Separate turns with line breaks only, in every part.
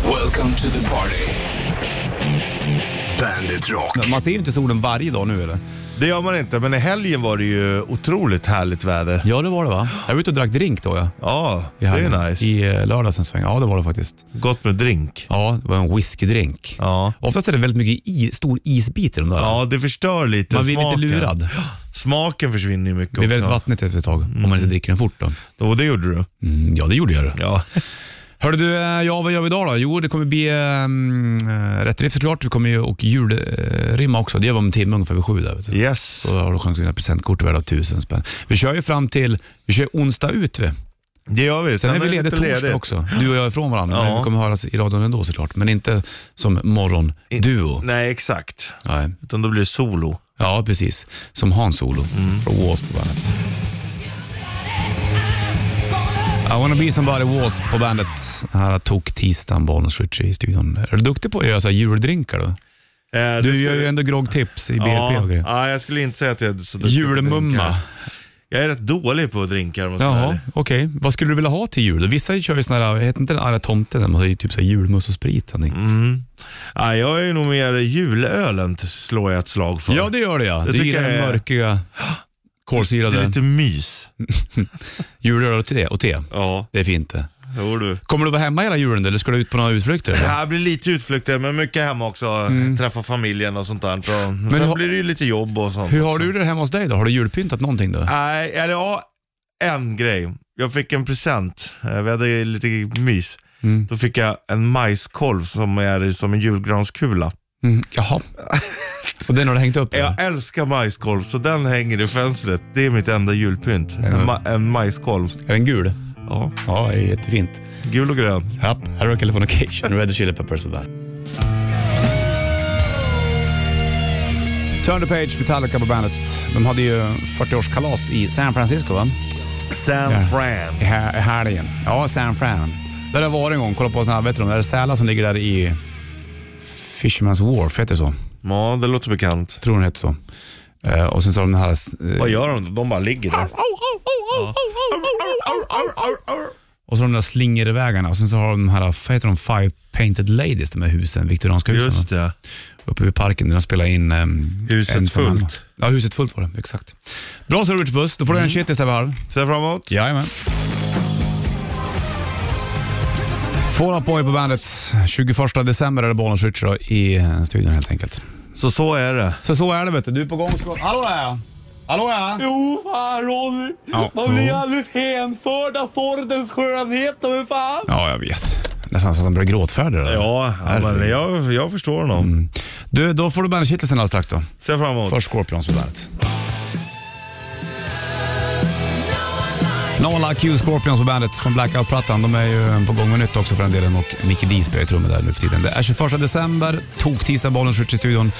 Welcome to the party. Bandit Rock.
Man ser ju inte solen varje dag nu eller?
Det gör man inte, men i helgen var det ju otroligt härligt väder.
Ja, det var det va? Jag var ute och drack drink då ja.
Ja,
I
det
helgen.
är nice.
I eh, lördags en sväng. Ja, det var det faktiskt.
Gott med drink.
Ja, det var en whiskydrink.
Ja.
Oftast är det väldigt mycket i, stor isbit i de där.
Ja, det förstör lite
Man blir lite
smaken.
lurad.
Smaken försvinner ju mycket
Det blir väldigt
också. Mm.
vattnigt efter ett tag om man inte dricker den fort. Då.
Och det gjorde du.
Mm, ja, det gjorde jag. det.
Ja.
Hörde du, eh, ja vad gör vi idag då? Jo, det kommer bli um, rätt riff såklart. Vi kommer ju och julrimma också. Det gör vi om en timme ungefär vid sju. Där, vet du.
Yes.
Då har du chans att vinna presentkort värda tusen spänn. Vi kör ju fram till, vi kör onsdag ut vi.
Det gör vi.
Sen är vi
det
lediga
lite
torsdag också. Du och jag är ifrån varandra,
Ja.
men vi kommer höras i radion ändå såklart. Men inte som morgonduo.
Nej, exakt.
Nej.
Utan då blir det solo. Eh,
Ja, precis. Som Hans Olo
Mm.
från Wasp på bandet. I wanna be somebody Wasp på bandet. Här tog tisdagen Bonus Richie i studion. Är du duktig på att göra så här juldrinkar då?
Eh, det
Du
ska
gör
vi-
ju ändå groggtips i BLP
ja,
och grejer.
ja, jag skulle inte säga att jag är så duktig på
Julmumma.
drinkar. Jag är rätt dålig på att drinkar om jag ska vara
Jaha,
ärlig.
okej. Vad skulle du vilja ha till jul? Vissa kör ju sådana här, heter inte den arga tomten? där Man har ju typ så här julmust och sprit. eller någonting.
Mm. Ja, jag är nog mer julölen till- slår jag ett slag för.
Ja, det gör det ja. Du
tycker
gillar den
jag är-
mörkiga,
det är
kolsyrade
lite mys.
julöl och te, och te.
Ja,
Det är fint det.
jo du.
Kommer du vara hemma hela julen eller ska du ut på några utflykter?
Det
eller?
här blir lite utflykter, men mycket hemma också. Träffa familjen och sånt där. Och sen
Mm. hur-
blir det ju lite jobb och sånt.
Hur har
också.
du det hemma hos dig då? Har du julpyntat någonting då?
Nej, eller ja, en grej. Jag fick en present. Eh, Vi hade lite mys.
Mm.
Då fick jag en majskolv som är som en julgranskula.
Mm, jaha. Och den har du hängt upp? eller?
Jag älskar majskolv, så den hänger i fönstret. Det är mitt enda julpynt. En, ma- en majskolv.
Är den gul?
Ja.
Ja, det är jättefint.
Gul och grön.
Ja, här har du Californication, Red Hot Chili Peppers på bandet. Turn the page, Metallica på bandet. De hade ju 40-årskalas i San Francisco va?
San Fran.
I hel- i helgen. Ja, San Fran. Där har jag varit en gång. Kolla på sån här, vet du de där sälar som ligger där i Fisherman's Wharf, heter det så?
Ja, det låter bekant.
Tror den heter så. Eh, och sen så har de den här... eh,
Vad gör de då? De bara ligger där.
Och så de där slingervägarna och sen så har de de här, vad heter de, Five Painted Ladies, de här husen, viktorianska husen.
Just det.
Uppe vid parken där de spelar in... Um,
Huset fullt. Mm.
Ja, huset fullt var det, exakt. Bra så Rich Buss, då får du en shitis där vid halv.
Ser fram emot.
Jajamän. Fall Out Boy på bandet. 21 december är det Bonus Rich då, i eh, studion helt enkelt.
Så så är det.
Så så är det vet du, du är på gång. så- Hallå ja! Hallå ja!
Jo, fan Ronny.
Ja.
Man blir
Mm.
Ja.
alldeles hänförd av sorgens skönhet. Men fan.
Ja, jag vet. Nästan så att han blir gråtfärdig. då.
Ja, ja men jag, jag förstår honom.
Du, då får du bandet-kittelsen alldeles strax då.
Ser fram emot.
Mm. Först Scorpions på bandet. No Like You Scorpions på bandet från Blackout-plattan. De är ju på gång med nytt också för den delen och Mickey D spelar ju trummor där nu för tiden. Det är 21 december, tok tisdag bollen skjuts i studion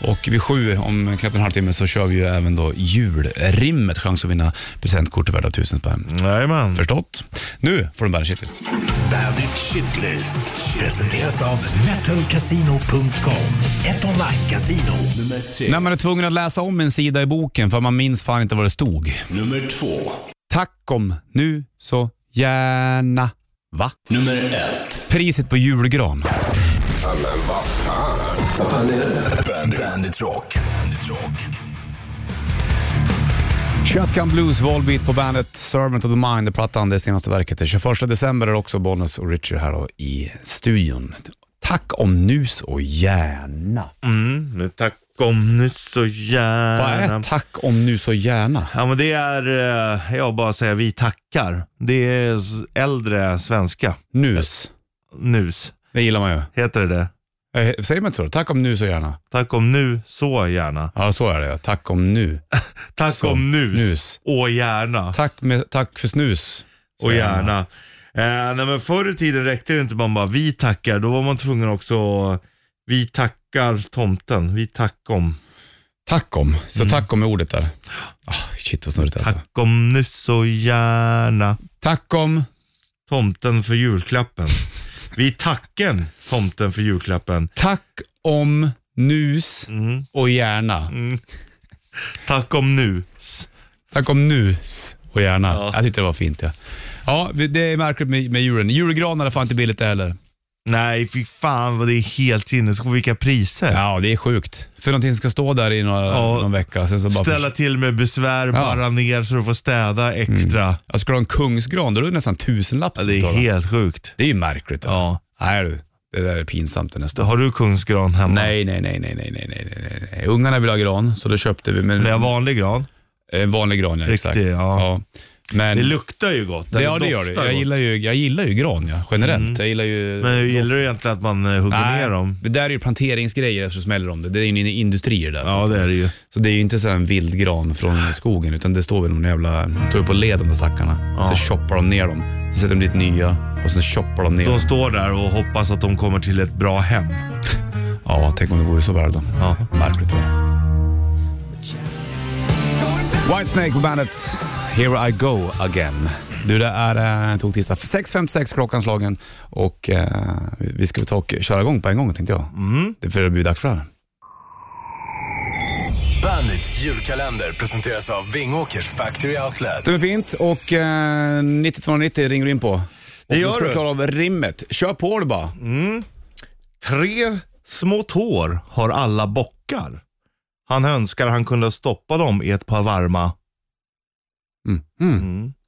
och vid sju, om knappt en halvtimme, så kör vi ju även då julrimmet. Chans att vinna presentkort värda tusen spänn.
Mm. Jajamän.
Förstått? Nu får du bära shitlist.
Bandit Shitlist. Presenteras av metalcasino.com. Ett online-casino. Nummer tre.
När man är tvungen att läsa om en sida i boken för man minns fan inte vad det stod.
Nummer två.
Tack om nu så gärna. Va?
Nummer ett.
Priset på julgran.
Bandit, Bandit Rock. Bandit Rock.
Shotgun Blues, Volbeat på bandet, Servant of the Mind, är plattan, det senaste verket. Det 21 december är också Bonus och Richard här då i studion. Tack om nus och gärna.
Mm, men tack om nu så
Vad är
gärna.
tack om nus och gärna?
Ja men det är, eh, jag bara säga vi tackar. Det är s- äldre svenska.
Nus,
Nus,
det gillar man ju.
heter det det?
Eh, Säger man inte så? Tack om nus och gärna.
Tack om nu, så gärna.
Ja, så är det. ja. Tack om nu.
Tack
Så,
om nus,
nus.
och gärna.
Tack, med, tack för snus. Så
och gärna. Eh, nej men förr i tiden räckte det inte man bara vi tackar, då var man tvungen också, vi tackar tomten, vi tack om.
Tack om. Så tack om är ordet där. Ah, shit vad snurrigt alltså.
Mm. Tack om nu så gärna.
Tack om.
tomten för julklappen. Vi tacken tomten för julklappen.
Tack om nus och gärna.
Mm. Tack om nu.
Tack om nus och gärna.
Ja.
Jag tyckte det var fint. Ja. Ja, vi- det är märkligt med, med julen. Julgranar är fan inte billigt det heller.
Nej, fy fan vad det är helt sinnessjukt. Vilka priser.
Ja, det är sjukt. För någonting som ska stå där i några,
Ja.
någon vecka. Sen så bara
Ställa till med besvär, barra ner så du får städa extra.
Ja, ska du ha en kungsgran, då är det nästan tusenlapp.
Ja, det är
totalt.
helt sjukt.
det är ju märkligt. det.
Ja.
Nej du, det där är pinsamt det nästan.
Har du kungsgran hemma?
Nej, nej, nej, nej, nej, nej, nej, nej, nej. Ungarna vill ha gran, så då köpte vi men,
Men jag har vanlig
Mm.
gran.
en vanlig gran. Ja, exakt.
Riktig, ja.
Men,
Det luktar ju gott.
det, ja, det gör det.
doftar
Jag
gott. Mm.
gillar, ju, jag gillar ju gran ja, generellt. Jag gillar ju...
Men hur gillar du egentligen att man eh, hugger ner dem?
det där är ju planteringsgrejer som smäller om det. Det är ju en industri det där.
Ja, det är det ju.
Så det är ju inte så här en vild gran från skogen utan det står väl någon jävla... De tar ju på led de där stackarna. Så choppar de ner dem. Så sätter de dit nya och sen choppar de ner
De
dem.
står där och hoppas att de kommer till ett bra hem.
Ja, tänk om det vore så väl då.
Ja.
Märkligt det. Whitesnake på bandet. Here I go again. Du, det är eh, tog tisdag 6.56 klockan slagen och eh, vi vi ska väl ta och köra igång på en gång tänkte jag.
Mm.
Det är för det blir dags för det här.
Bandits julkalender presenteras av Vingåkers Factory Outlet.
Det är fint och eh, 9290 ringer du in på. Och
Det gör
ska
du. Mm.
klara av rimmet. Kör på det bara.
Tre små tår har alla bockar. Han önskar han kunde stoppa dem i ett par varma.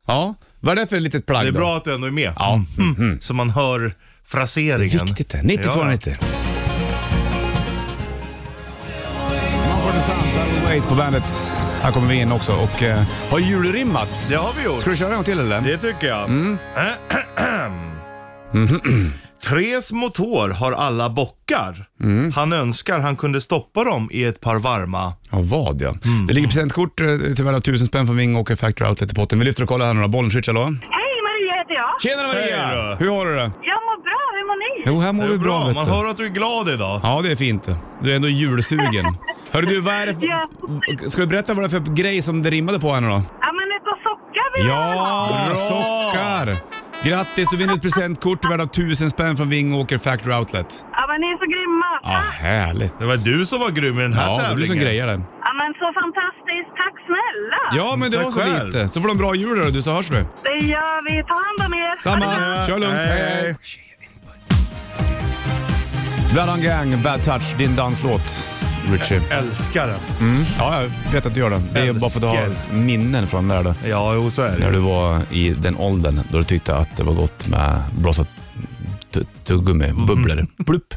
Ja. Vad är det för litet plagg
Det är
då?
bra att du ändå är med.
Ja. Mm.
Så man hör fraseringen.
Viktigt det. 9290. Marvin Sons, I will wait på bandet. Här kommer vi in också och eh, har julrimmat.
Ja. Det har vi gjort.
Ska du köra en gång till eller?
Det tycker jag.
Mm.
Tre små tår har alla bockar.
Mm.
Han önskar han kunde stoppa dem i ett par varma.
Ja, vad ja. Mm. Det ligger presentkort eh, till värde av 1000 spänn från Vingåker Factory Outlet i potten. Vi lyfter och kollar här några. Bollenswitch, hallå?
Hej, Maria heter jag.
Tjena Maria!
Hej då.
Hur har du det?
Jag mår bra, hur mår ni?
Jo, här mår
Det är
vi bra,
bra.
vet
Man
du.
hör att du är glad idag.
Ja, det är fint. Du är ändå julsugen. Hörru du, vad är det
Ja.
för... Ska du berätta vad det är för grej som det rimmade på här nu då?
Ja, men ett par sockar vill jag väl ha.
Ja,
Bra!
sockar! Grattis, du vinner ett presentkort värda 1000 spänn från Vingåker Factory Outlet.
Ja, men ni är så grymma.
Ja,
Ah.
härligt.
Det var du som var grym i den här
Ja, det blir
tävlingen.
som grejer den.
Ja, men så fantastiskt. Tack snälla.
Ja, men det var
Tack
så
själv.
lite. Så får du en bra jul då, du, så hörs vi.
Det gör vi. Ta hand om er.
Samma.
Ha det bra.
Kör lugnt.
Hej, hej.
Värdan Gang, Bad Touch, din danslåt. Richie.
Älskar den.
Ja, jag vet att du gör den. Det är bara för att du har
Älskar.
minnen från där då.
Ja, jo så är
När
det.
du var i den åldern då du tyckte att det var gott med blåsa tu- tuggummi, bubblor. Blupp.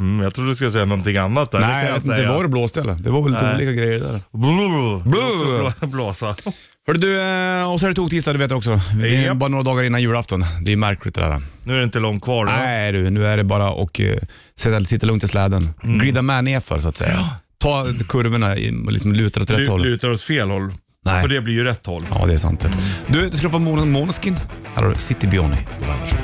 Mm, jag trodde du skulle säga någonting annat där.
Nej, jag vet
det
alltså, inte. Det var det blåste eller? Det var väl lite
Nej.
olika grejer där.
Blå.
Blå.
Blå. Blåsa.
Hörru du, eh, och så är det toktisdag, du vet också. Det är
Japp.
bara några dagar innan julafton. Det är märkligt det där.
Nu är det inte långt kvar då.
Nej du, nu är det bara att eh, sitta, sitta lugnt i släden.
Mm.
Glida med nerför så att säga. Ta kurvorna i- och liksom luta åt rätt
Du
håll.
lutar åt fel håll.
Nej.
För det blir ju rätt håll.
Ja, det är sant. Du, du ska få Mon- Måneskin. Här har du City Bioni på bandet.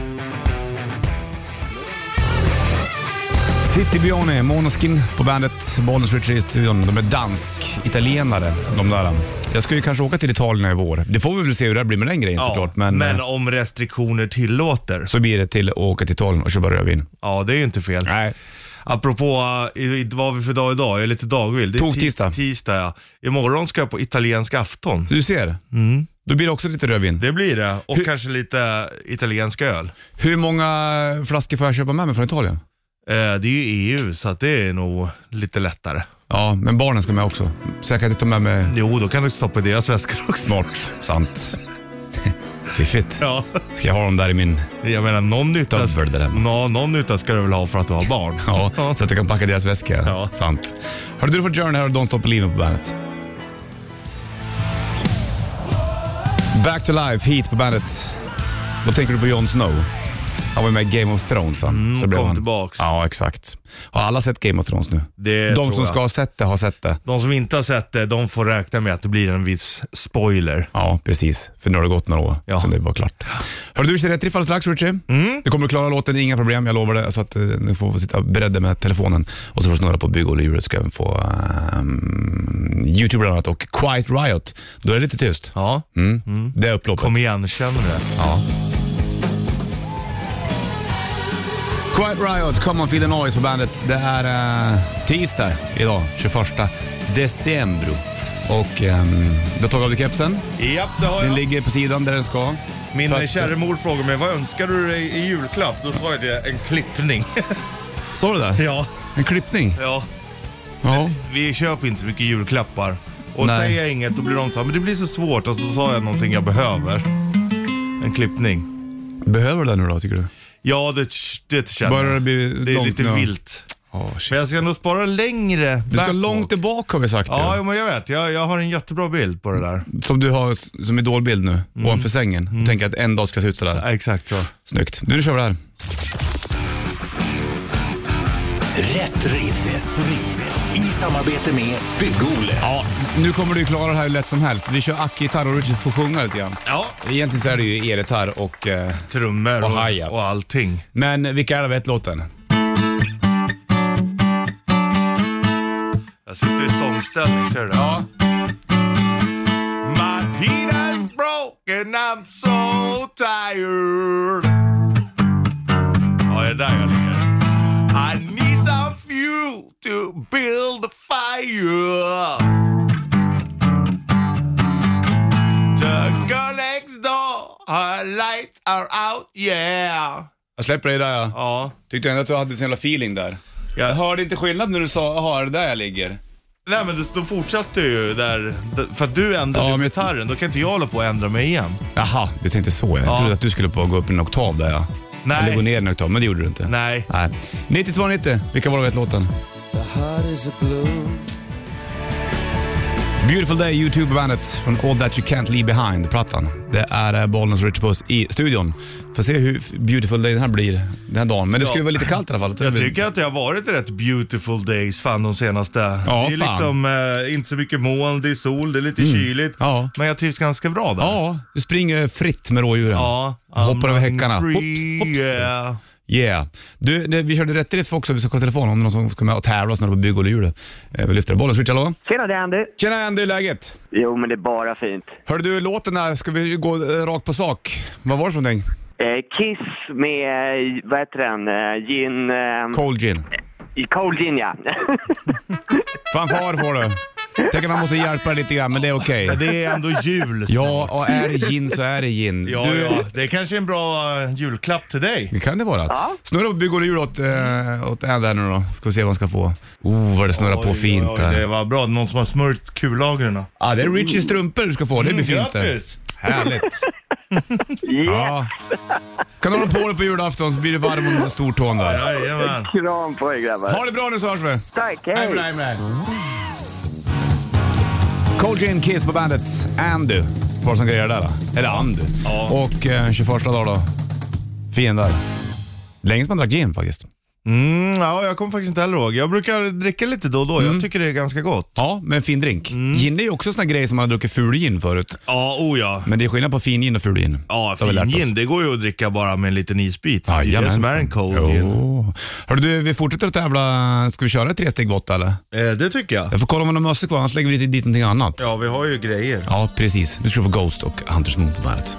City Bioni, Måneskin på bandet. Bollnäs Retreat i studion. De är dansk-italienare, de där. Jag ska ju kanske åka till Italien i vår. Det får vi väl se hur det här blir med den grejen såklart. Men,
men
eh,
om restriktioner tillåter.
så blir det till att åka till Italien och köpa rödvin.
Ja, det är ju inte fel.
Nej.
Apropå, eh, i- i- vad har vi för dag idag? Jag är lite dagvild. Det är
Tog tisdag.
tis- tisdag ja. Imorgon ska jag på italiensk afton.
Så du ser, då blir det också lite rödvin.
Det blir det. Och kanske lite eh, italiensk öl.
Hur många flaskor får jag köpa med mig från Italien?
Eh, det är ju EU, så att det är nog lite lättare.
Ja, men barnen ska med också. Så jag kan inte ta med mig
Jo, då kan du stoppa i deras väskor också.
Smart. Sant. Fiffigt.
Ja,
Ska jag ha dem där i min...
jag menar någon nytta,
Stövel det där med.
Nå, någon nytta ska du väl ha för att du har barn?
Ja, så att jag kan packa deras väska.
Ja.
Sant. Hörru du, du får Journey här och Don't Stop Believin' på bandet. Back to Life, hit på bandet. Då tänker du på Jon Snow. Han var ju med i Game of Thrones han. Mm,
kom tillbaks.
Ja, exakt. Har alla sett Game of Thrones nu?
Det
De
tror
som
jag.
ska ha sett det har sett det.
De som inte har sett det, de får räkna med att det blir en viss spoiler.
Ja, precis. För nu har det gått några år
Ja. Mm.
sedan det var klart. Hörru du, kör rätt riff alldeles strax Richie. Du kommer att klara låten, inga problem. Jag lovar det. Så att eh, du får sitta beredda med telefonen. Och så får du snurra på byggoljehjulet. ska även få ehm, YouTube bland annat och Quiet Riot. Då är det lite tyst.
Ja,
Mm. Det är upploppet.
kom igen, känner du det?
Ja. Quiet Riot, Come on feel the noise på bandet. Det är eh, tisdag idag, 21 december. Och um, du har tagit av dig kepsen.
Japp, det har
Den
jag.
ligger på sidan där den ska.
Min
För att-
kära mor frågade mig, vad önskar du dig i julklapp? Då sa jag det, en klippning.
Står det där?
ja.
En klippning?
ja.
Ja.
Vi köper inte så mycket julklappar. Och
Nej.
säger jag inget, då blir de så här, men det blir så svårt. Alltså, då sa jag någonting jag behöver. En klippning.
Behöver du det nu då, tycker du?
Ja, det, det känner
Börjar det
jag.
bli
Det är
långt
lite
nu?
vilt.
Oh, shit.
Men jag ska nog spara längre
Du ska långt tillbaka har vi sagt
Ja,
ju.
jo, men jag vet. Jag, jag har en jättebra bild på det där.
Som du har s- som idolbild nu, ovanför sängen. Och tänker att en dag ska se ut sådär.
Ja, exakt så.
Snyggt. Nu kör vi det här.
Rätt riff. I samarbete med Bygg-Ole.
Ja, nu kommer du klara det här hur lätt som helst. Vi kör ackgitarr och Richard får sjunga lite grann.
Ja.
Egentligen så är det ju elgitarr och... Eh,
Trummor
Och
och,
hi-hat.
och allting.
men vilka är det vet låten?
Jag sitter i sångställning, ser du det?
Ja.
My heat has broken, I'm so tired. Ja, det är där jag ligger. I need some fuel to build a fire. The girl next door, her lights are out, yeah.
Jag släpper dig där ja.
Ja.
Tyckte ändå att du hade sån jävla feeling där.
Ja.
Jag hörde inte skillnad när du sa, jaha är det där jag ligger?
Nej men det- då fortsatte ju där, d- för att du ändrade
Ja,
ju
men-
gitarren, då kan inte jag hålla på och ändra mig igen.
Jaha, du tänkte så ja. Jag
Ja.
trodde att du skulle på gå upp en oktav där ja.
Nej.
Eller gå ner en oktav, men det gjorde du inte.
Nej.
Nej. 9290, vilka var det vet låten? Beautiful Day, YouTube-bandet från All That You Can't Leave Behind-plattan. Det är eh, Bollnäs Rich Puss i studion. Får se hur f- beautiful day den här blir den här dagen. Men det skulle
Ja.
vara lite kallt i alla fall.
Jag tycker att det har varit rätt beautiful days fan de senaste. det är
fan. Mm.
liksom eh, inte så mycket moln, det är sol, det är lite kyligt.
Ja.
Men jag trivs ganska bra där.
Ja, du springer fritt med rådjuren.
Ja,
Hoppar
I'm
över häckarna.
free,
Hopps, hopps.
yeah.
Yeah. Du, det, vi körde rätt riff också. Vi ska kolla telefon om det är någon som ska med och tävla oss när på bygg och hjulet. Eh, Vi lyfter bollen. Switch, hallå?
Tjena, det är Andy.
Tjena Andy, hur är läget?
Jo, men det är bara fint.
Hörde du låten där, ska vi ju gå eh, rakt på sak. Vad var det för någonting?
Eh, Kiss med, eh, vad heter den, eh, gin... Eh,
Cold gin.
i cold gin, ja.
Fanfar får du. Tänk att man måste hjälpa dig lite grann, men det är okej.
Men eh. det är ändå jul.
Ja, och är det gin så är det gin.
Ja,
Du-
ja, det är kanske en bra eh, julklapp till dig.
Det kan det vara. Snurra på bygg och hjul åt, äh, åt Andy här nu då. Ska vi se vad han ska få. Oh, vad det snurrar på
Oj,
fint
oj,
där.
Det var bra, någon som har smörjt kullagren.
Ja, det är Richies strumpor du ska få. Det blir fint det.
Mm, Grattis!
Härligt.
yeah.
Ja. Kan du hålla på dig på julafton så blir du varm under stortån där.
Jajamän.
Kram på er grabbar.
Ha det bra nu så hörs vi.
Tack,
Hej med
hej.
dig, hej med dig. Cold Gin Kiss på bandet. Andy var det som grejade där. då. Eller Andy.
Ja.
Och eh, 21 dag då. Fin där. Länge som man drack gin faktiskt.
Mm, ja, jag kommer faktiskt inte heller ihåg. Jag brukar dricka lite då och då.
Mm.
Jag tycker det är ganska gott.
Ja, men fin drink.
Mm.
Gin är ju också en sån här grej som man har druckit ful gin förut.
Ja, oh ja.
Men det är skillnad på fin gin och ful gin.
Ja,
Det har vi lärt
fin
oss.
gin, det går ju att dricka bara med en liten isbit. det är det som är en cold gin.
Jo. Hörru du, vi fortsätter att tävla. Ska vi köra tre steg bort eller?
Eh, det tycker jag.
Jag får kolla om man har mössa kvar, annars lägger vi dit, dit någonting annat.
Ja, vi har ju grejer.
Ja, precis. Nu ska du få Ghost och Hunters Moon på bandet.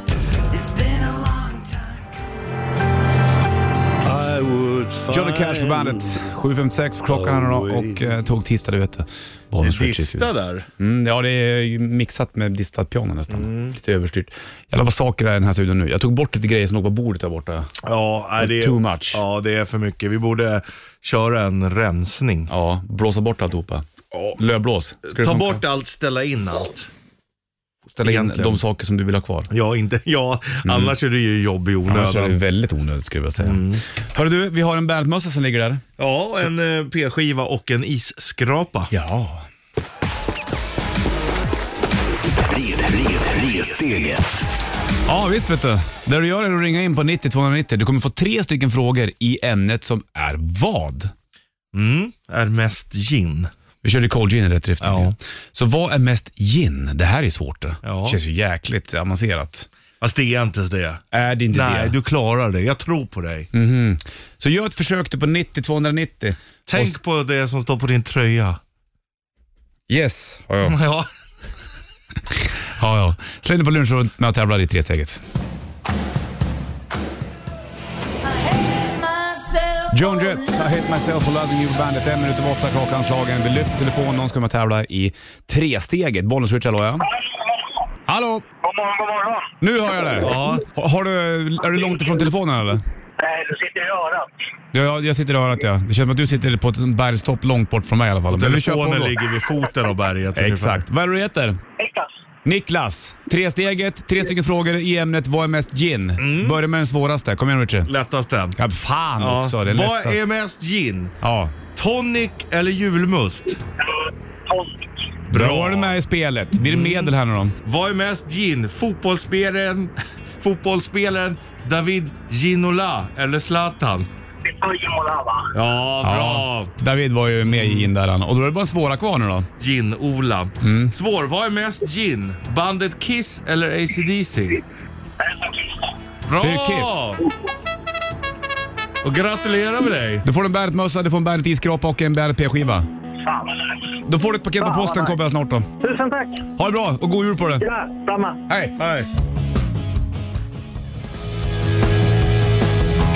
Äh,
Johnny Cash på bandet. 7.56 på klockan här nu då och eh, tog tisdag, du vet det. Bonus Richie.
Dista där.
Mm, ja, det är ju mixat med distat piano nästan.
Mm.
Lite överstyrt. Jävlar vad saker det är i den här studion nu. Jag tog bort lite grejer som låg på bordet där borta.
Ja, nej, det är,
Too much.
Ja, det är för mycket. Vi borde köra en rensning.
Ja, blåsa bort alltihopa. Lövblås. Ska det
Ta
funka?
bort allt, ställa in allt.
Ställa in
egentligen.
de saker som du vill ha kvar.
Ja, inte, ja annars är det ju jobb i
Annars är det
onödan.
väldigt onödigt skulle jag vilja säga.
Mm.
Hörru du, vi har en bandmössa som ligger där.
Ja, en eh, p-skiva och en isskrapa.
Ja.
Red, red, ressteget.
Ja visst vet du. Det du gör är att ringa in på 90 290. Du kommer få tre stycken frågor i ämnet som är vad?
Mm, är mest gin.
Vi körde cold gin i rätt rift.
Ja.
Så vad är mest gin? Det här är ju svårt. Det
Ja.
känns ju jäkligt avancerat.
Fast det är inte det.
Är det inte
Nej,
det?
du klarar det. Jag tror på dig.
Så gör ett försök du på 90 290.
Tänk på det som står på din tröja.
Yes, har jag.
Ja.
Ja, ja. Släng dig på lunchrummet med att tävla i tresteget. John Jett, I hate myself for loving you, bandet. En minut över åtta klockan slagen. Vi lyfter telefonen, någon ska med och tävla i tresteget. Bollen switchar, hallå ja. Hallå! God
morgon, god morgon.
Nu hör jag dig!
Ja.
Har- Har du, är du långt ifrån telefonen eller?
Nej, du sitter i örat.
Ja, jag sitter i örat ja. Det känns som att du sitter på ett bergstopp långt bort från mig i alla fall. Men vi kör på
Telefonen
ändå.
ligger vid foten av berget.
Exakt. Vad är det du heter?
Niklas.
Niklas. Tre steget, tre stycken frågor i ämnet Vad är mest gin? Börja med den svåraste. Kom igen Richie.
Lättaste.
Ja, fan
Mm. Ja.
också. Det är
Vad
lättast.
är mest gin?
Ja.
Tonic eller julmust?
Tolk.
Bra. Då är du med i spelet. Blir
Mm.
det medel här nu då?
Vad är mest gin? Fotbollsspelaren, fotbollsspelaren David Ginola eller Zlatan?
Det är Jimola, va?
Ja, bra!
David var ju med i gin där han. Och då är det bara svåra kvar nu då.
Gin-Ola.
Mm.
Svår. Vad är mest gin? Bandet Kiss eller ACDC? Bra!
Så är det Kiss.
Och gratulerar med dig!
Du får en Bandet-mössa, du får en Bandet-isskrapa och en Bandet-p-skiva.
Fan, vad nice.
Då får du ett paket på
Fan, vad
posten
nice.
kommer jag snart då.
Tusen tack.
Ha det bra och god jul på dig.
Ja, samma.
Hej!
Hej.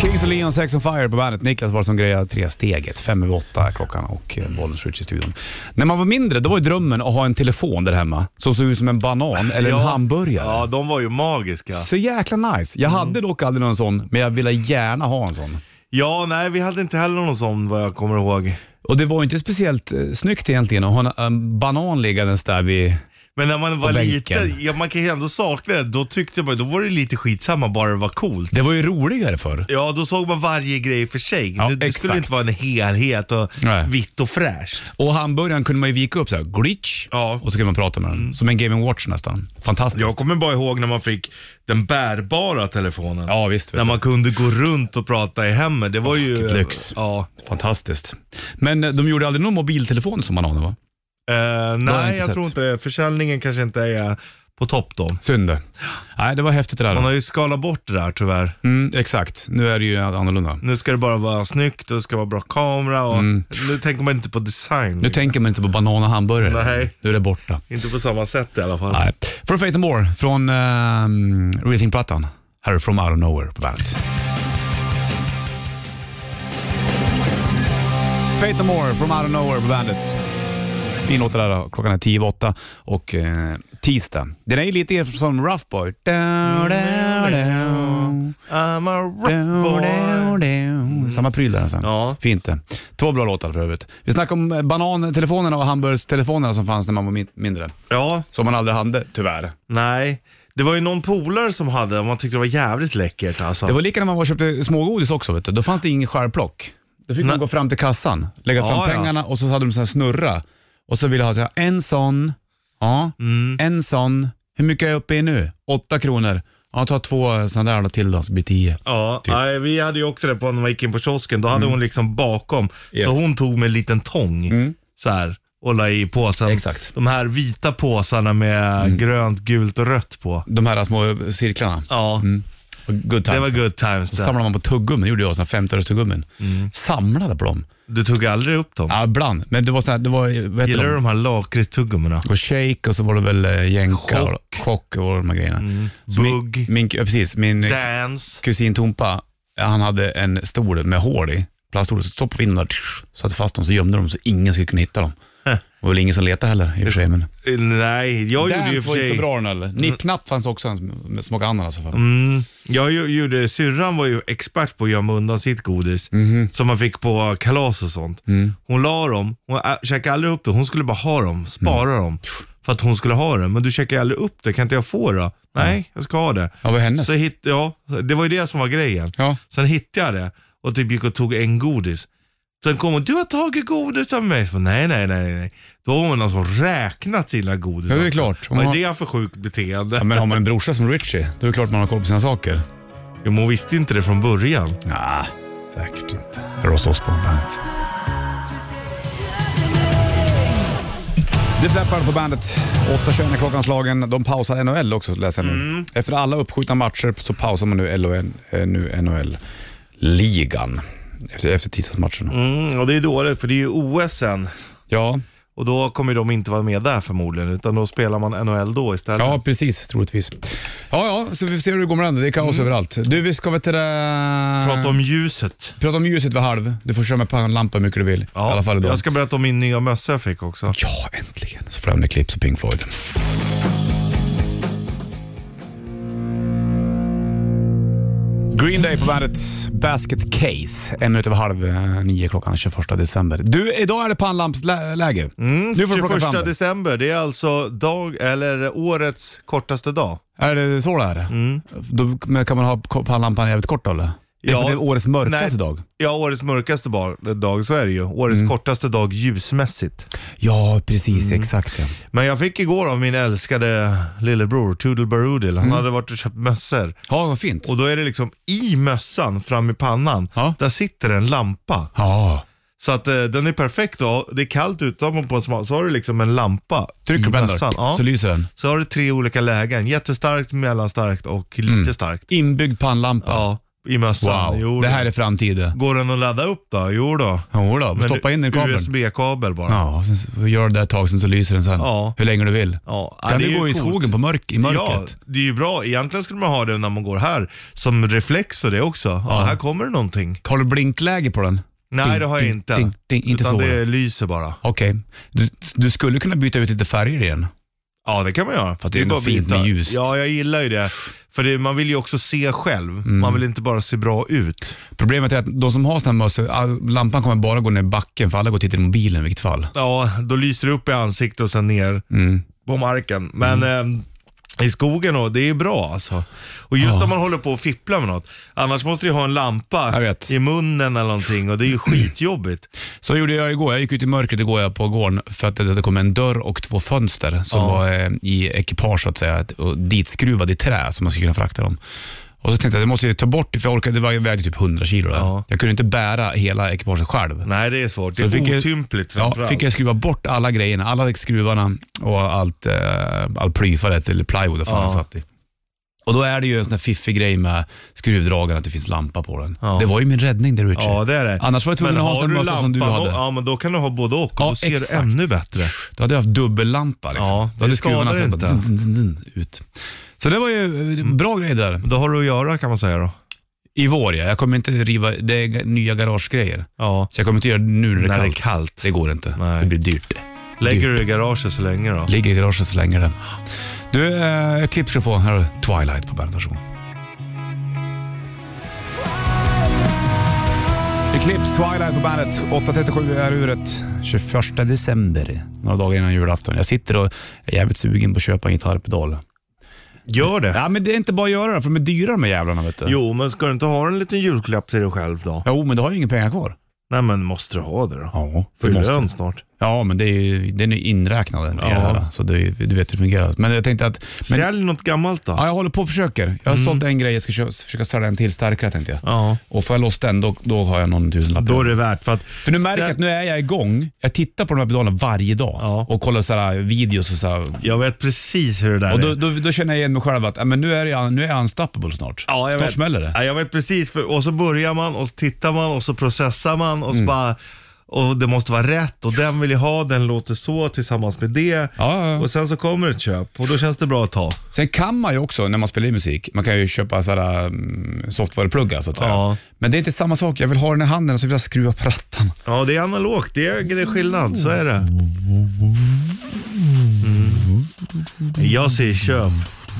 Kings och Leon, Sex on Fire på bandet. Niklas var som grejade tre steget. Fem över åtta är klockan och eh, bollen switch i studion. När man var mindre, då var ju drömmen att ha en telefon där hemma som såg ut som en banan eller en hamburgare.
Ja, de var ju magiska.
Så jäkla nice. Jag
Mm.
hade dock aldrig någon sån, men jag ville gärna ha en sån.
Ja, nej, vi hade inte heller någon sån vad jag kommer ihåg.
Och det var ju inte speciellt eh, snyggt egentligen att ha en, en banan liggandes där vid...
Men när man var
bänken.
liten, ja, man kan ju ändå sakna det. Då tyckte man, då var det lite skitsamma bara det var coolt.
Det var ju roligare förr.
Ja, då såg man varje grej för sig.
Ja,
nu, det
exakt.
skulle inte vara en helhet och
Nej.
vitt och fräscht.
Och hamburgaren kunde man ju vika upp så här, glitch,
Ja. Mm.
och så kunde man prata med den. Som en Game Watch nästan. Fantastiskt.
Jag kommer bara ihåg när man fick den bärbara telefonen.
Ja, visst.
när
Vet man...
man kunde gå runt och prata i hemmet. Det var ju... eh,
vilket lyx.
Ja.
Fantastiskt. Men eh, de gjorde aldrig någon mobiltelefon som man har nu va?
Eh,
jag
nej,
inte
jag
sett.
tror inte det. Försäljningen kanske inte är på topp då.
Synd det. Nej, det var häftigt det
Man har
där.
ju skalat bort det där tyvärr.
Mm, exakt. Nu är det ju annorlunda.
Nu ska det bara vara snyggt och det ska vara bra kamera och nu tänker man inte på design.
Mm. Nu tänker man inte på banan och hamburgare.
Nej.
Nu är det borta.
inte på samma sätt i alla fall.
Nej. For Fate and More från um, Real Thing-plattan. Här är From Out of Nowhere på bandet. Fate and More from Out of Nowhere på bandet. Fin låt det där. då. Klockan är tio över åtta och eh, tisdag. Den är ju lite som Rough Boy. Da, da, da.
I'm a rough boy.
Samma pryl där sen.
Ja.
Fint det. Två bra låtar för övrigt. Vi snackade om eh, banantelefonerna och hamburgstelefonerna som fanns när man var min- mindre.
Ja,
Som man aldrig hade, tyvärr. nej.
nej. Det var ju någon polare som hade och man tyckte det var jävligt läckert alltså.
Det var lika när man var och köpte smågodis också. Vet du. Då fanns det ingen skärplock. Då fick man gå fram till kassan, lägga fram
Ja, ja.
pengarna och så hade de så här snurra. Och så ville jag ha så här, en sån, ja,
Mm.
en sån. Hur mycket är jag uppe i nu? Åtta kronor. Ja, ta två sådana där då till då, så blir det tio.
Ja,
Typ. Mm.
nej, vi hade ju också det på när man gick in på kiosken. Då hade hon liksom bakom,
Yes. Mm.
så hon tog med en liten tång så här och la i påsen.
Exakt. Mm.
De här vita påsarna med grönt, gult och rött på.
De här små cirklarna.
Ja,
Och Good Mm. times.
det var good times Mm.
Så
där.
samlade man på tuggummin, gjorde jag, såna 50-öres-tuggummin. Samlade på dem.
Du tog aldrig upp dem?
Ja, ibland. Men det var såhär, det var, vad heter
Gillar du
de?
de här lakritstuggummina?
Och shake och så var det väl eh, jänka
Chock. Mm.
och chock och de här grejerna. Så
Bugg.
Min, min, ja, precis, min eh,
Dance.
kusin Tompa, han hade en stol med hål i. Plaststol, så stoppade vi in dem där, tsch, satte fast dem, så gömde de så ingen skulle kunna hitta dem. Det var väl ingen som letade heller i och för sig. Men...
Eh, Nej, jag gjorde
Dance
ju i och för
var inte
sig...
så bra den heller. Nippnapp fanns också en som som smakade alltså. ananas. i alla fall.
Mm, jag ju- gjorde, syrran var ju expert på att gömma undan sitt godis
Mhm.
som man fick på kalas och sånt.
Mm.
Hon la dem, hon ä, käkade aldrig upp det. Hon skulle bara ha dem, spara
Mm.
dem. För att hon skulle ha det. Men du käkar ju aldrig upp det, kan inte jag få det? Nej, jag ska ha det.
Ja, vad hennes?
Så hitt, ja, det var ju det som var grejen.
Ja.
Sen hittade jag det och typ gick och tog en godis. Sen kom hon, du har tagit godis av mig. Så, bara, nej, nej, nej, nej. Då var hon någon som räknat sina godis.
Ja, det är klart. Om
Vad är
man-
det för sjukt beteende?
Ja, men har man en brorsa som Richie, då är det klart man har koll på sina saker.
Jo, men hon visste inte det från början.
Nej, säkert inte. Ross Osborn bandet. Det släpper på bandet. 8.21 är klockan slagen. De pausar NHL också läser jag nu.
Mm.
Efter alla uppskjutna matcher så pausar man nu LON eh, nu NHL-ligan. Efter, efter tisdagsmatchen.
Mm, och det är dåligt för det är ju OS sen.
Ja,
Och då kommer de inte vara med där förmodligen, utan då spelar man NHL då istället.
ja, precis. Troligtvis. Ja, ja, så vi får se hur det går med den. Det är kaos överallt. Du, vi ska väl till det...
Mm. Prata om ljuset.
Prata om ljuset vid halv. Du får köra med pannlampa hur mycket du vill. I alla fall idag.
jag ska berätta om min nya mössa jag fick också.
Ja, äntligen. Så får jag med Clips och Pink Floyd. Green Day på bandet Basket Case. En minut över halv eh, nio klockan 21 december. Du, idag är det pannlampsläge. Mm, nu får du plocka
21
fram det.
december, det är alltså dag, eller årets kortaste dag.
Är det så det är?
Mm.
Då men kan man ha ko- pannlampan jävligt kort då eller? Det är för
Ja.
det är årets mörkaste
Nej.
dag. Mm.
Ja, årets mörkaste bar- dag, så är det ju. Årets kortaste dag ljusmässigt.
Ja, precis.
Mm.
Exakt ja.
Men jag fick igår av min älskade lillebror, Toodle Baroodle,
Mm.
han hade varit och köpt mössor.
Ja, vad fint.
Och då är det liksom i mössan, fram i pannan,
Ja.
där sitter en lampa.
Ja.
Så att eh, den är perfekt då. Det är kallt utanpå på en smal, så har du liksom en lampa
Trycker
i
på den
mössan.
där,
Ja.
så lyser den.
Så har du tre olika lägen. Jättestarkt, mellanstarkt och lite starkt.
Inbyggd pannlampa.
Ja, i mössan.
Mm. Wow,
Jo,
det
då.
här är framtiden.
Går den att ladda upp då? Jo då.
Jo då,
Men
stoppa in den i kabeln.
USB-kabel bara. Ja.
Ja, och sen så gör du det ett tag, sen så lyser den sen.
Ja.
Hur länge du vill.
ja,
Kan
det är
du
ju
gå i
coolt.
skogen på mörk, i
Ja,
mörkret?
det är ju bra. Egentligen skulle man ha det när man går här, som reflex och det också. Ja, här kommer det någonting.
Har du blinkläge på den?
Nej,
Ding,
det har jag
ding,
inte.
ding, ding. Inte
Utan
så,
det
ja.
lyser bara.
Okej. Du, du skulle kunna byta ut lite färger i den.
Ja, det kan man göra.
Fast det är ändå
bara
fint
byta.
med ljust.
Ja, jag gillar ju det. För det, man vill ju också se själv.
Mm.
Man vill inte bara se bra ut.
Problemet är att de som har sådana här mössor, all- lampan kommer bara gå ner i backen för alla går och tittar i mobilen i vilket fall.
Ja, då lyser det upp i ansiktet och sen ner
Mm.
på marken. Men eh, i skogen då, det är bra alltså. Och just när man håller på och fipplar med något. Annars måste du ju ha en
Jag
lampa
vet.
i munnen eller någonting och det är ju skitjobbigt.
Så gjorde jag igår. Jag gick ut i mörkret igår på gården för att det det kom en dörr och två fönster som
Ja.
var eh, i ekipage så att säga, och ditskruvad i trä som man skulle kunna frakta dem. Och så tänkte jag att jag måste ju ta bort det, för jag orkade, det var- vägde typ 100 kilo. där.
Ja.
Jag kunde inte bära hela ekipaget själv.
Nej, det är svårt.
Så
Det
fick
är
jag-
otympligt
Ja,
framförallt.
fick jag skruva bort alla grejerna, alla skruvarna och allt, eh, all plyfaret eller plywood vad fan
Ja.
jag satt i. Och då är det ju en sån här fiffig grej med skruvdragaren, att det finns lampa på den.
Ja.
Det var ju min räddning där Richard.
Ja, det är det.
Annars var jag tvungen
Men
att ha
har
en
du
mössa som du
lampan
hade.
och- Ja, men då kan du ha både och. och
Ja,
då ser
exakt.
du ännu bättre.
Då hade jag haft dubbellampa liksom.
Ja,
Då hade
det
skruvarna
skadar
sett bara
inte. Mm.
zin, zin, zin, zin, ut. Så det var ju eh, bra grej där.
Då har du att göra kan man säga då.
I vår ja. Jag kommer inte riva, det är g- nya garagegrejer.
Ja.
Så jag kommer inte göra det nu när det är
När det är
kallt.
kallt.
Det går inte.
Nej.
Det blir dyrt.
Lägger du i garaget så länge då?
Ligger i garaget så länge det. Du, eh, ett klipp ska du få. Här har du Twilight på bandet. Varsågod. Eclipse, Twilight på bandet. 8.37 är uret. 21 december, några dagar innan julafton. Jag sitter och är jävligt sugen på att köpa en gitarrpedal.
Gör det.
Ja, men det är inte bara att göra det, för de är dyra de här jävlarna vet du.
Jo, men ska du inte ha en liten julklapp till dig själv då?
Jo, men du har ju inga pengar kvar.
Nej, men måste du ha det då?
Ja,
För
du måste.
lön snart.
Ja, men det är ju, den är ju inräknad i det här, så det är, ju- du vet hur det fungerar. Men jag tänkte att... Men,
Sälj något gammalt då.
ja, jag håller på och försöker. Jag har
Mm.
sålt en grej, jag ska kö- försöka sälja en till starkare tänkte jag.
Ja.
Och får jag loss den, då, då har jag någon tusenlapp.
Då är det värt för att...
För nu märker jag att
Sen-
nu är jag igång. Jag tittar på de här pedalerna varje dag
Ja.
och kollar så här videos och så här.
Jag vet precis hur det där
Och då,
är.
då, då känner jag igen mig själv att ja, men nu är jag, nu är jag unstoppable snart.
Ja, jag
snart
vet.
smäller det.
Ja, jag vet precis. För, och så börjar man och så tittar man och så processar man
Mm.
och så bara... Och det måste vara rätt och den vill jag ha, den låter så tillsammans med det.
ja, ja.
Och sen så kommer ett köp och då känns det bra att ta.
Sen kan man ju också, när man spelar in musik, man kan ju köpa sådana mm, softwarepluggar så att säga.
Ja.
Men det är inte samma sak. Jag vill ha den i handen och så vill jag skruva på rattarna.
Ja, det är analogt. Det är, det är skillnad. Så är det. Mm. Jag säger köp.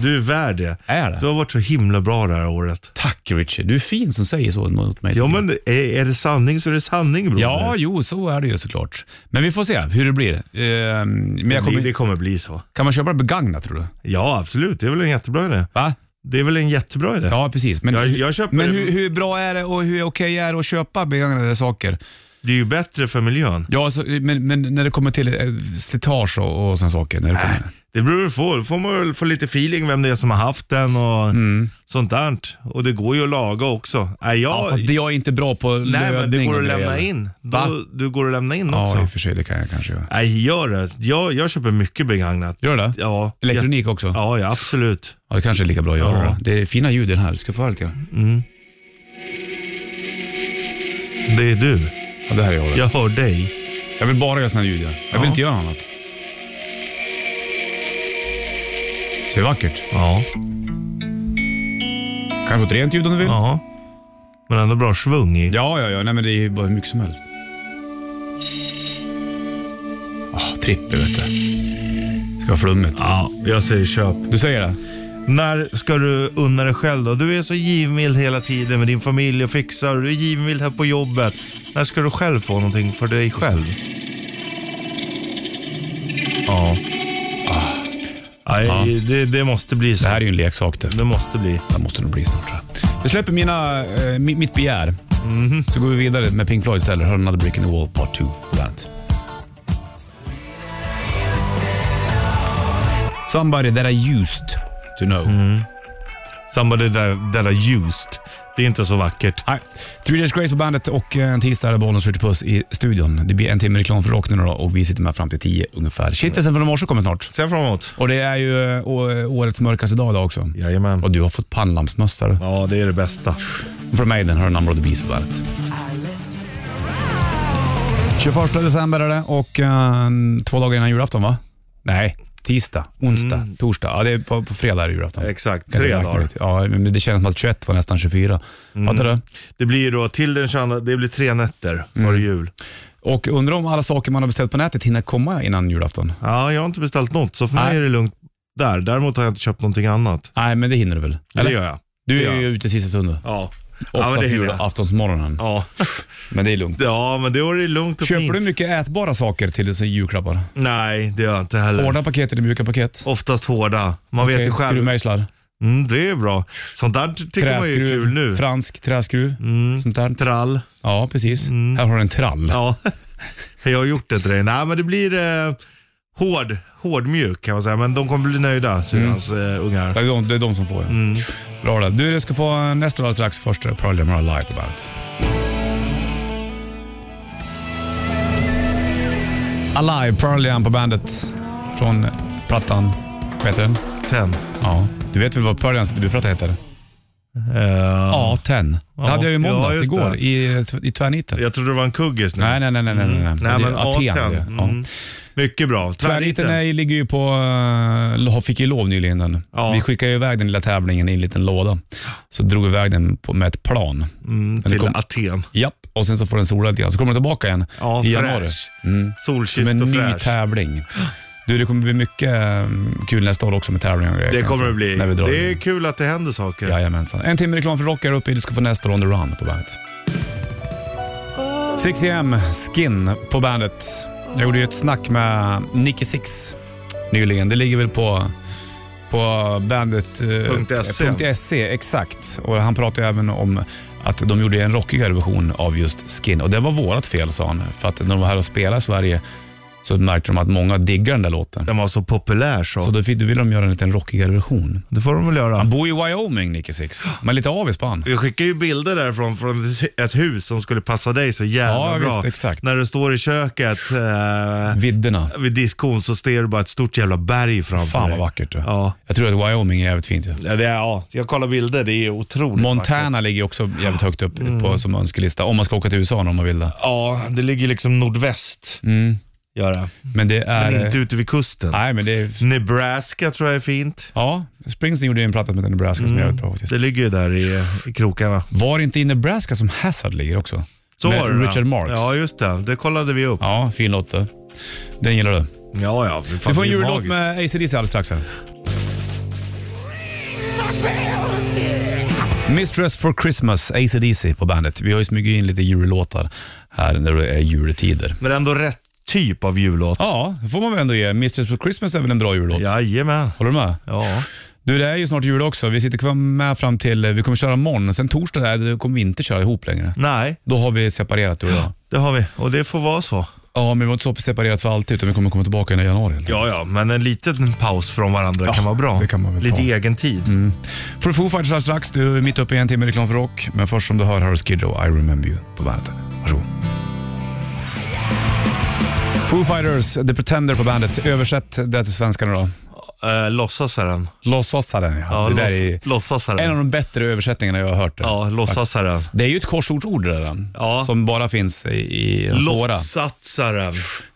Du är värd det.
Är det?
Du har varit så himla bra det här året.
Tack Richard, du är fin som säger så mot mig.
Ja, men är, är det sanning så är det sanning broder.
Ja, jo, så är det ju såklart. Men vi får se hur det blir. Ehm, men jag
det, blir,
kommer,
det kommer bli så.
Kan man köpa det begagnat tror du?
Ja, absolut. Det är väl en jättebra idé.
Va?
Det är väl en jättebra idé.
Ja, precis. Men,
Jag- jag köper
men
det-
hur, hur bra är det och hur okej är det att köpa begagnade saker?
Det är ju bättre för miljön.
Ja, alltså, men, men när det kommer till eh, slitage och, och sådana saker. När det
Äh,
kommer.
Det beror på. Då får man väl få lite feeling vem det är som har haft den och sånt där. Och det går ju att laga också. Nej, jag,
Mm. Ja, fast det jag är inte bra på
Nej, men det
lödning
går att
och
lämna
grejer.
in.
Va?
Då, du går att lämna in
Ja, i och
också.
för sig. Det kan jag kanske göra.
Nej, gör det. Jag, jag köper mycket begagnat.
Gör det?
Ja.
Elektronik också? Ja.
Ja, ja, absolut.
det kanske är lika bra att göra
Ja.
då. Det är fina ljud i den här. Du ska få höra lite grann.
Det är du.
Ja, det här är jag.
Jag hör dig.
Jag vill bara göra såna här ljud. ja. Jag vill
Ja.
inte göra något annat. Så det är vackert.
Ja.
Kanske få ett rent ljud om du vill.
ja. Men ändå bra svung i.
Ja, ja, ja. Nej, men det är ju bara hur mycket som helst. Ah, trippel vet du. Ska vara flummigt.
Ja, jag säger köp.
Du säger det?
När ska du unna dig själv då? Du är så givmild hela tiden med din familj och fixar och du är givmild här på jobbet. När ska du själv få någonting för dig själv? Ja. Ah. Nej, Det, det måste bli så.
Det här är ju en leksak det.
Det måste bli.
Det måste nog bli snart. tror jag. Vi släpper mina, eh, mi- mitt begär. Så går vi vidare med Pink Floyd istället. Hör Another Brick in the Wall Part 2 på bandet. Somebody that I used to know.
Somebody that, that I used. Det är inte så vackert.
Nej. Three Days Grace på bandet och eh, en tisdag är det Bollnäs Ritchie Puss i studion. Det blir en timme reklam för rock nu då och vi sitter med fram till tio ungefär. Kittelsen från i morse kommer snart.
Ser jag fram emot.
Och det är ju eh, å- årets mörkaste dag idag också.
Jajamän.
Och du har fått pannlampsmössa du.
Ja, det är det bästa.
Från Maiden har du Number of the Beast på bandet. 21 december är det och eh, två dagar innan julafton va? Nej, tisdag, onsdag,
Mm.
torsdag. Ja, det är på, på fredag är det julafton.
Exakt,
Kan inte
tre
räkna
dagar.
riktigt. Ja, men det känns som att 21 var nästan 24.
Mm.
Fattar du?
Det blir ju då till den 22, det blir tre nätter före
Mm.
jul.
Och undrar om alla saker man har beställt på nätet hinner komma innan julafton?
Ja, jag har inte beställt något, så för mig
Nej.
är det lugnt där. Däremot har jag inte köpt någonting annat.
Nej, men det hinner du väl? Eller?
Det gör jag.
du
det
är
gör
ju ute sista stunden.
Ja. Ja, men
Oftast
det hinner jag.
julaftonsmorgonen.
Ja.
Men det är lugnt.
ja, men då är det lugnt och
Köper
fint.
du mycket ätbara saker till så julklappar?
Nej, det gör jag inte heller.
Hårda paket eller mjuka paket?
Oftast hårda. Man vet ju
Okej,
själv.
Skruvmejslar?
Mm, det är bra. Sånt där ty- tycker man ju är kul nu.
Träskruv? Fransk träskruv? Sånt där.
Trall.
Ja, precis. Här har du en trall.
Mm. Ja, jag har gjort det till dig. Nej, men det blir eh, hård, hårdmjuk kan man säga. Men de kommer bli nöjda,
Mm.
syrrans eh, ungar.
Det, är de, det är de som får ja.
Mm.
Bra det. Du, du ska få nästa alldeles strax. Först är det Pearl Jam Live på bandet. Alive, Pearl Jam på bandet. Från plattan, vad heter den?
Ten.
Ja. Du vet väl vad Pearl Jams debutplatta heter?
Eh,
Ja, Ten. Det
Ja.
hade jag ju i
Ja,
måndags,
just
igår,
det.
i, i tvärniten.
Jag trodde det var en kuggis nu.
Nej, nej, nej, nej, nej. nej.
Mm. Nej,
det är
men
Aten.
Aten.
det. Ja.
Mm. Mycket bra.
Tvärniten
Tvärniten.
är, ligger ju på, eh, fick ju lov nyligen den.
Ja.
Vi skickade ju iväg den lilla tävlingen i en liten låda. Så drog vi iväg den på, med ett plan.
Mm,
det
till
kom-
Aten.
Japp, och sen så får den sola lite grann. Så kommer den tillbaka igen
Ja,
i
fräsch.
januari. Mm.
Solkysst
Som en
och
ny
fräsch.
tävling. Du, det kommer bli mycket eh, kul nästa år också med tävlingar och grejer,
Det
kan jag
kommer det
säga,
bli.
alltså. När vi drar
Det
igång.
är kul att det händer saker.
Jajamensan. En timme reklam för rockare uppe. Du ska få nästa On the Run på bandet. 6 am, Skin på bandet. Jag gjorde ju ett snack med Nicky Six nyligen. Det ligger väl på, på bandet... eh,
.se.
punkt .se, exakt. Och han pratade även om att de gjorde en rockigare version av just Skin. Och det var vårt fel, sa han. För att när de var här och spelade i Sverige så märkte de att många diggar den där låten.
Den var så populär så.
Så då fick- då ville de göra en liten rockigare version.
Det får de väl
Han
göra.
bor i Wyoming, Nicky Six. Men lite avis på han.
Vi skickar ju bilder därifrån från ett hus som skulle passa dig så jävla
Ja,
bra.
visst, exakt.
När du står i köket eh,
Vidderna.
vid diskon så ser du bara ett stort jävla berg framför
Fan
dig.
vad vackert. du.
Ja.
Jag tror att Wyoming är jävligt fint. ju.
Ja, det är, ja, jag kollar bilder. Det är otroligt
Montana
vackert.
ligger också jävligt högt upp
Mm.
på, som önskelista. Om man ska åka till USA om man vill det.
Ja, det ligger liksom nordväst. Gör det.
Men det Mm. är...
Men inte Mm. ute vid kusten.
Nej, men det är...
Nebraska tror jag är fint.
Ja, Springsteen gjorde ju en platta med Nebraska som är jävligt bra faktiskt.
Det ligger ju där i, i krokarna.
Var det inte i Nebraska som Hazard ligger också?
Så
med
var det
Richard
då.
Marx.
Ja, just det. Det kollade vi upp. Ja,
Ja, fin låt det. Den gillar du.
ja. ja för fan,
Du får en
det är ju
jullåt
magiskt.
med ACDC alldeles strax här. Mistress for Christmas, ACDC på bandet. Vi har ju smugit in lite jullåtar här när det är juletider.
Men ändå rätt typ av jullåt.
Ja, det får man väl ändå ge. Mistress for Christmas är väl en bra jullåt?
Jajamän.
Håller du med?
Ja.
Du, det är ju snart jul också. Vi sitter kvar med fram till, eh, vi kommer köra imorgon. Sen torsdag där, då kommer vi inte köra ihop längre.
Nej,
Då har vi separerat du och jag.
det har vi. Och det får vara så.
Ja, men vi var inte så separerat för alltid utan vi kommer komma tillbaka i januari.
Ja, ja, men en liten paus från varandra kan vara bra.
det kan man väl
Lite
ta. Mm.
egen tid.
För Foo Fighters alldeles strax. Du är mitt uppe i en timme reklam för rock. Men först som du hör här är Skid Row, I Remember You på bandet. Varsågod. Foo Fighters, The Pretender på bandet. Översätt det till svenska nu då.
Eh, låtsasaren.
Låtsasaren, ja.
Ja,
det där
låts-
är en av
Låtsasaren.
de bättre översättningarna jag har hört.
Ja, låtsasaren.
Det är ju ett korsordsord det där,
Ja.
som bara finns i, i de svåra.
Låtsatsaren.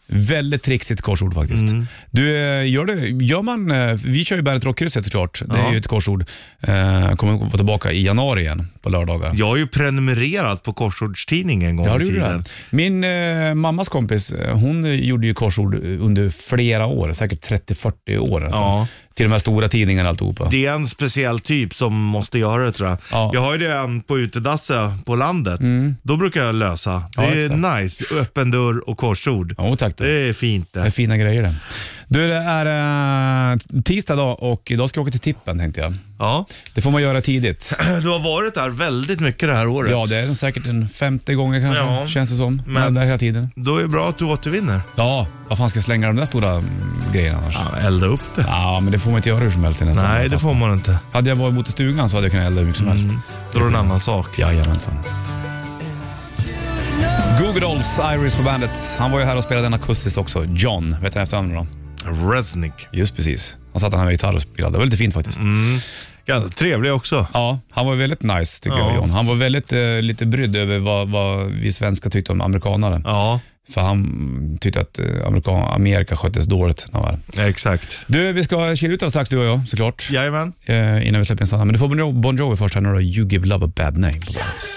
Väldigt trixigt korsord faktiskt.
Mm.
Du, eh, gör, det, gör man, eh, vi kör ju Bandet Rockkrysset såklart. Det är
Ja.
ju ett korsord. Eh, kommer att vara tillbaka i januari igen på lördagar.
Jag har ju prenumererat på Korsordstidningen en gång
Ja,
i
det gjorde
tiden.
det. Min eh, mammas kompis, eh, hon gjorde ju korsord under flera år, säkert 30-40 år. Alltså.
Ja.
till de här stora tidningarna och alltihopa.
Det är en speciell typ som måste göra det tror jag.
Ja.
Jag har ju det um, på utedasse på landet. Då brukar jag lösa. Det
Ja,
är nice. Öppen dörr och korsord.
Jo tack du.
Det är fint
Det är
det.
fina grejer det. Du, det är eh, tisdag idag och idag ska jag åka till tippen tänkte jag.
Ja.
Det får man göra tidigt.
Du har varit där väldigt mycket det här året.
Ja, det är nog säkert en 50 gånger kanske,
Ja.
känns det som.
Men-
Men... Där hela tiden.
Då är det bra att du återvinner.
Ja, vad fan ska jag slänga de där stora mm, grejerna annars? Ja.
Ja, elda upp det.
men det får man inte göra hur som helst i nästa
Nej,
fall.
det får Mm. man inte.
Hade jag varit mot i stugan så hade jag kunnat elda hur mycket som helst.
Då är det en annan sak.
Jajamensan. Google Dolls, Iris på bandet. Han var ju här och spelade en akustisk också. John, vet du efternamn då?
Resnick.
Just precis. Han satt här med gitarr och spelade. Det var lite fint faktiskt.
Ganska trevlig också.
Ja, han var väldigt nice tycker
Ja.
jag, John. Han var väldigt eh, lite brydd över vad, vad vi svenskar tyckte om amerikanare.
Ja,
För han tyckte att eh, Amerika, Amerika sköttes dåligt. när han var här.
exakt.
Du, vi ska chilla ut alldeles strax du och jag såklart.
Jajamän.
Eh, innan vi släpper in Sanna. Men du får Bon Jo- Bon Jovi först här nu då. You give love a bad name. på bandet.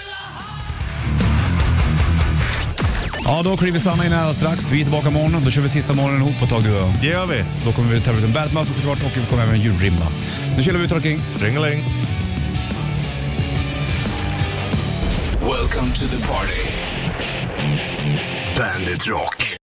Ja, då kliver Sanna in här alldeles strax. Vi är tillbaka imorgon. Då kör vi sista morgonen ihop på ett tag du och jag.
Det gör vi.
Då kommer vi tävla ut en Batman såklart och vi kommer även en julrimma. Nu chillar vi ut King.
Stringeling.
Welcome to the party. Bandit Rock.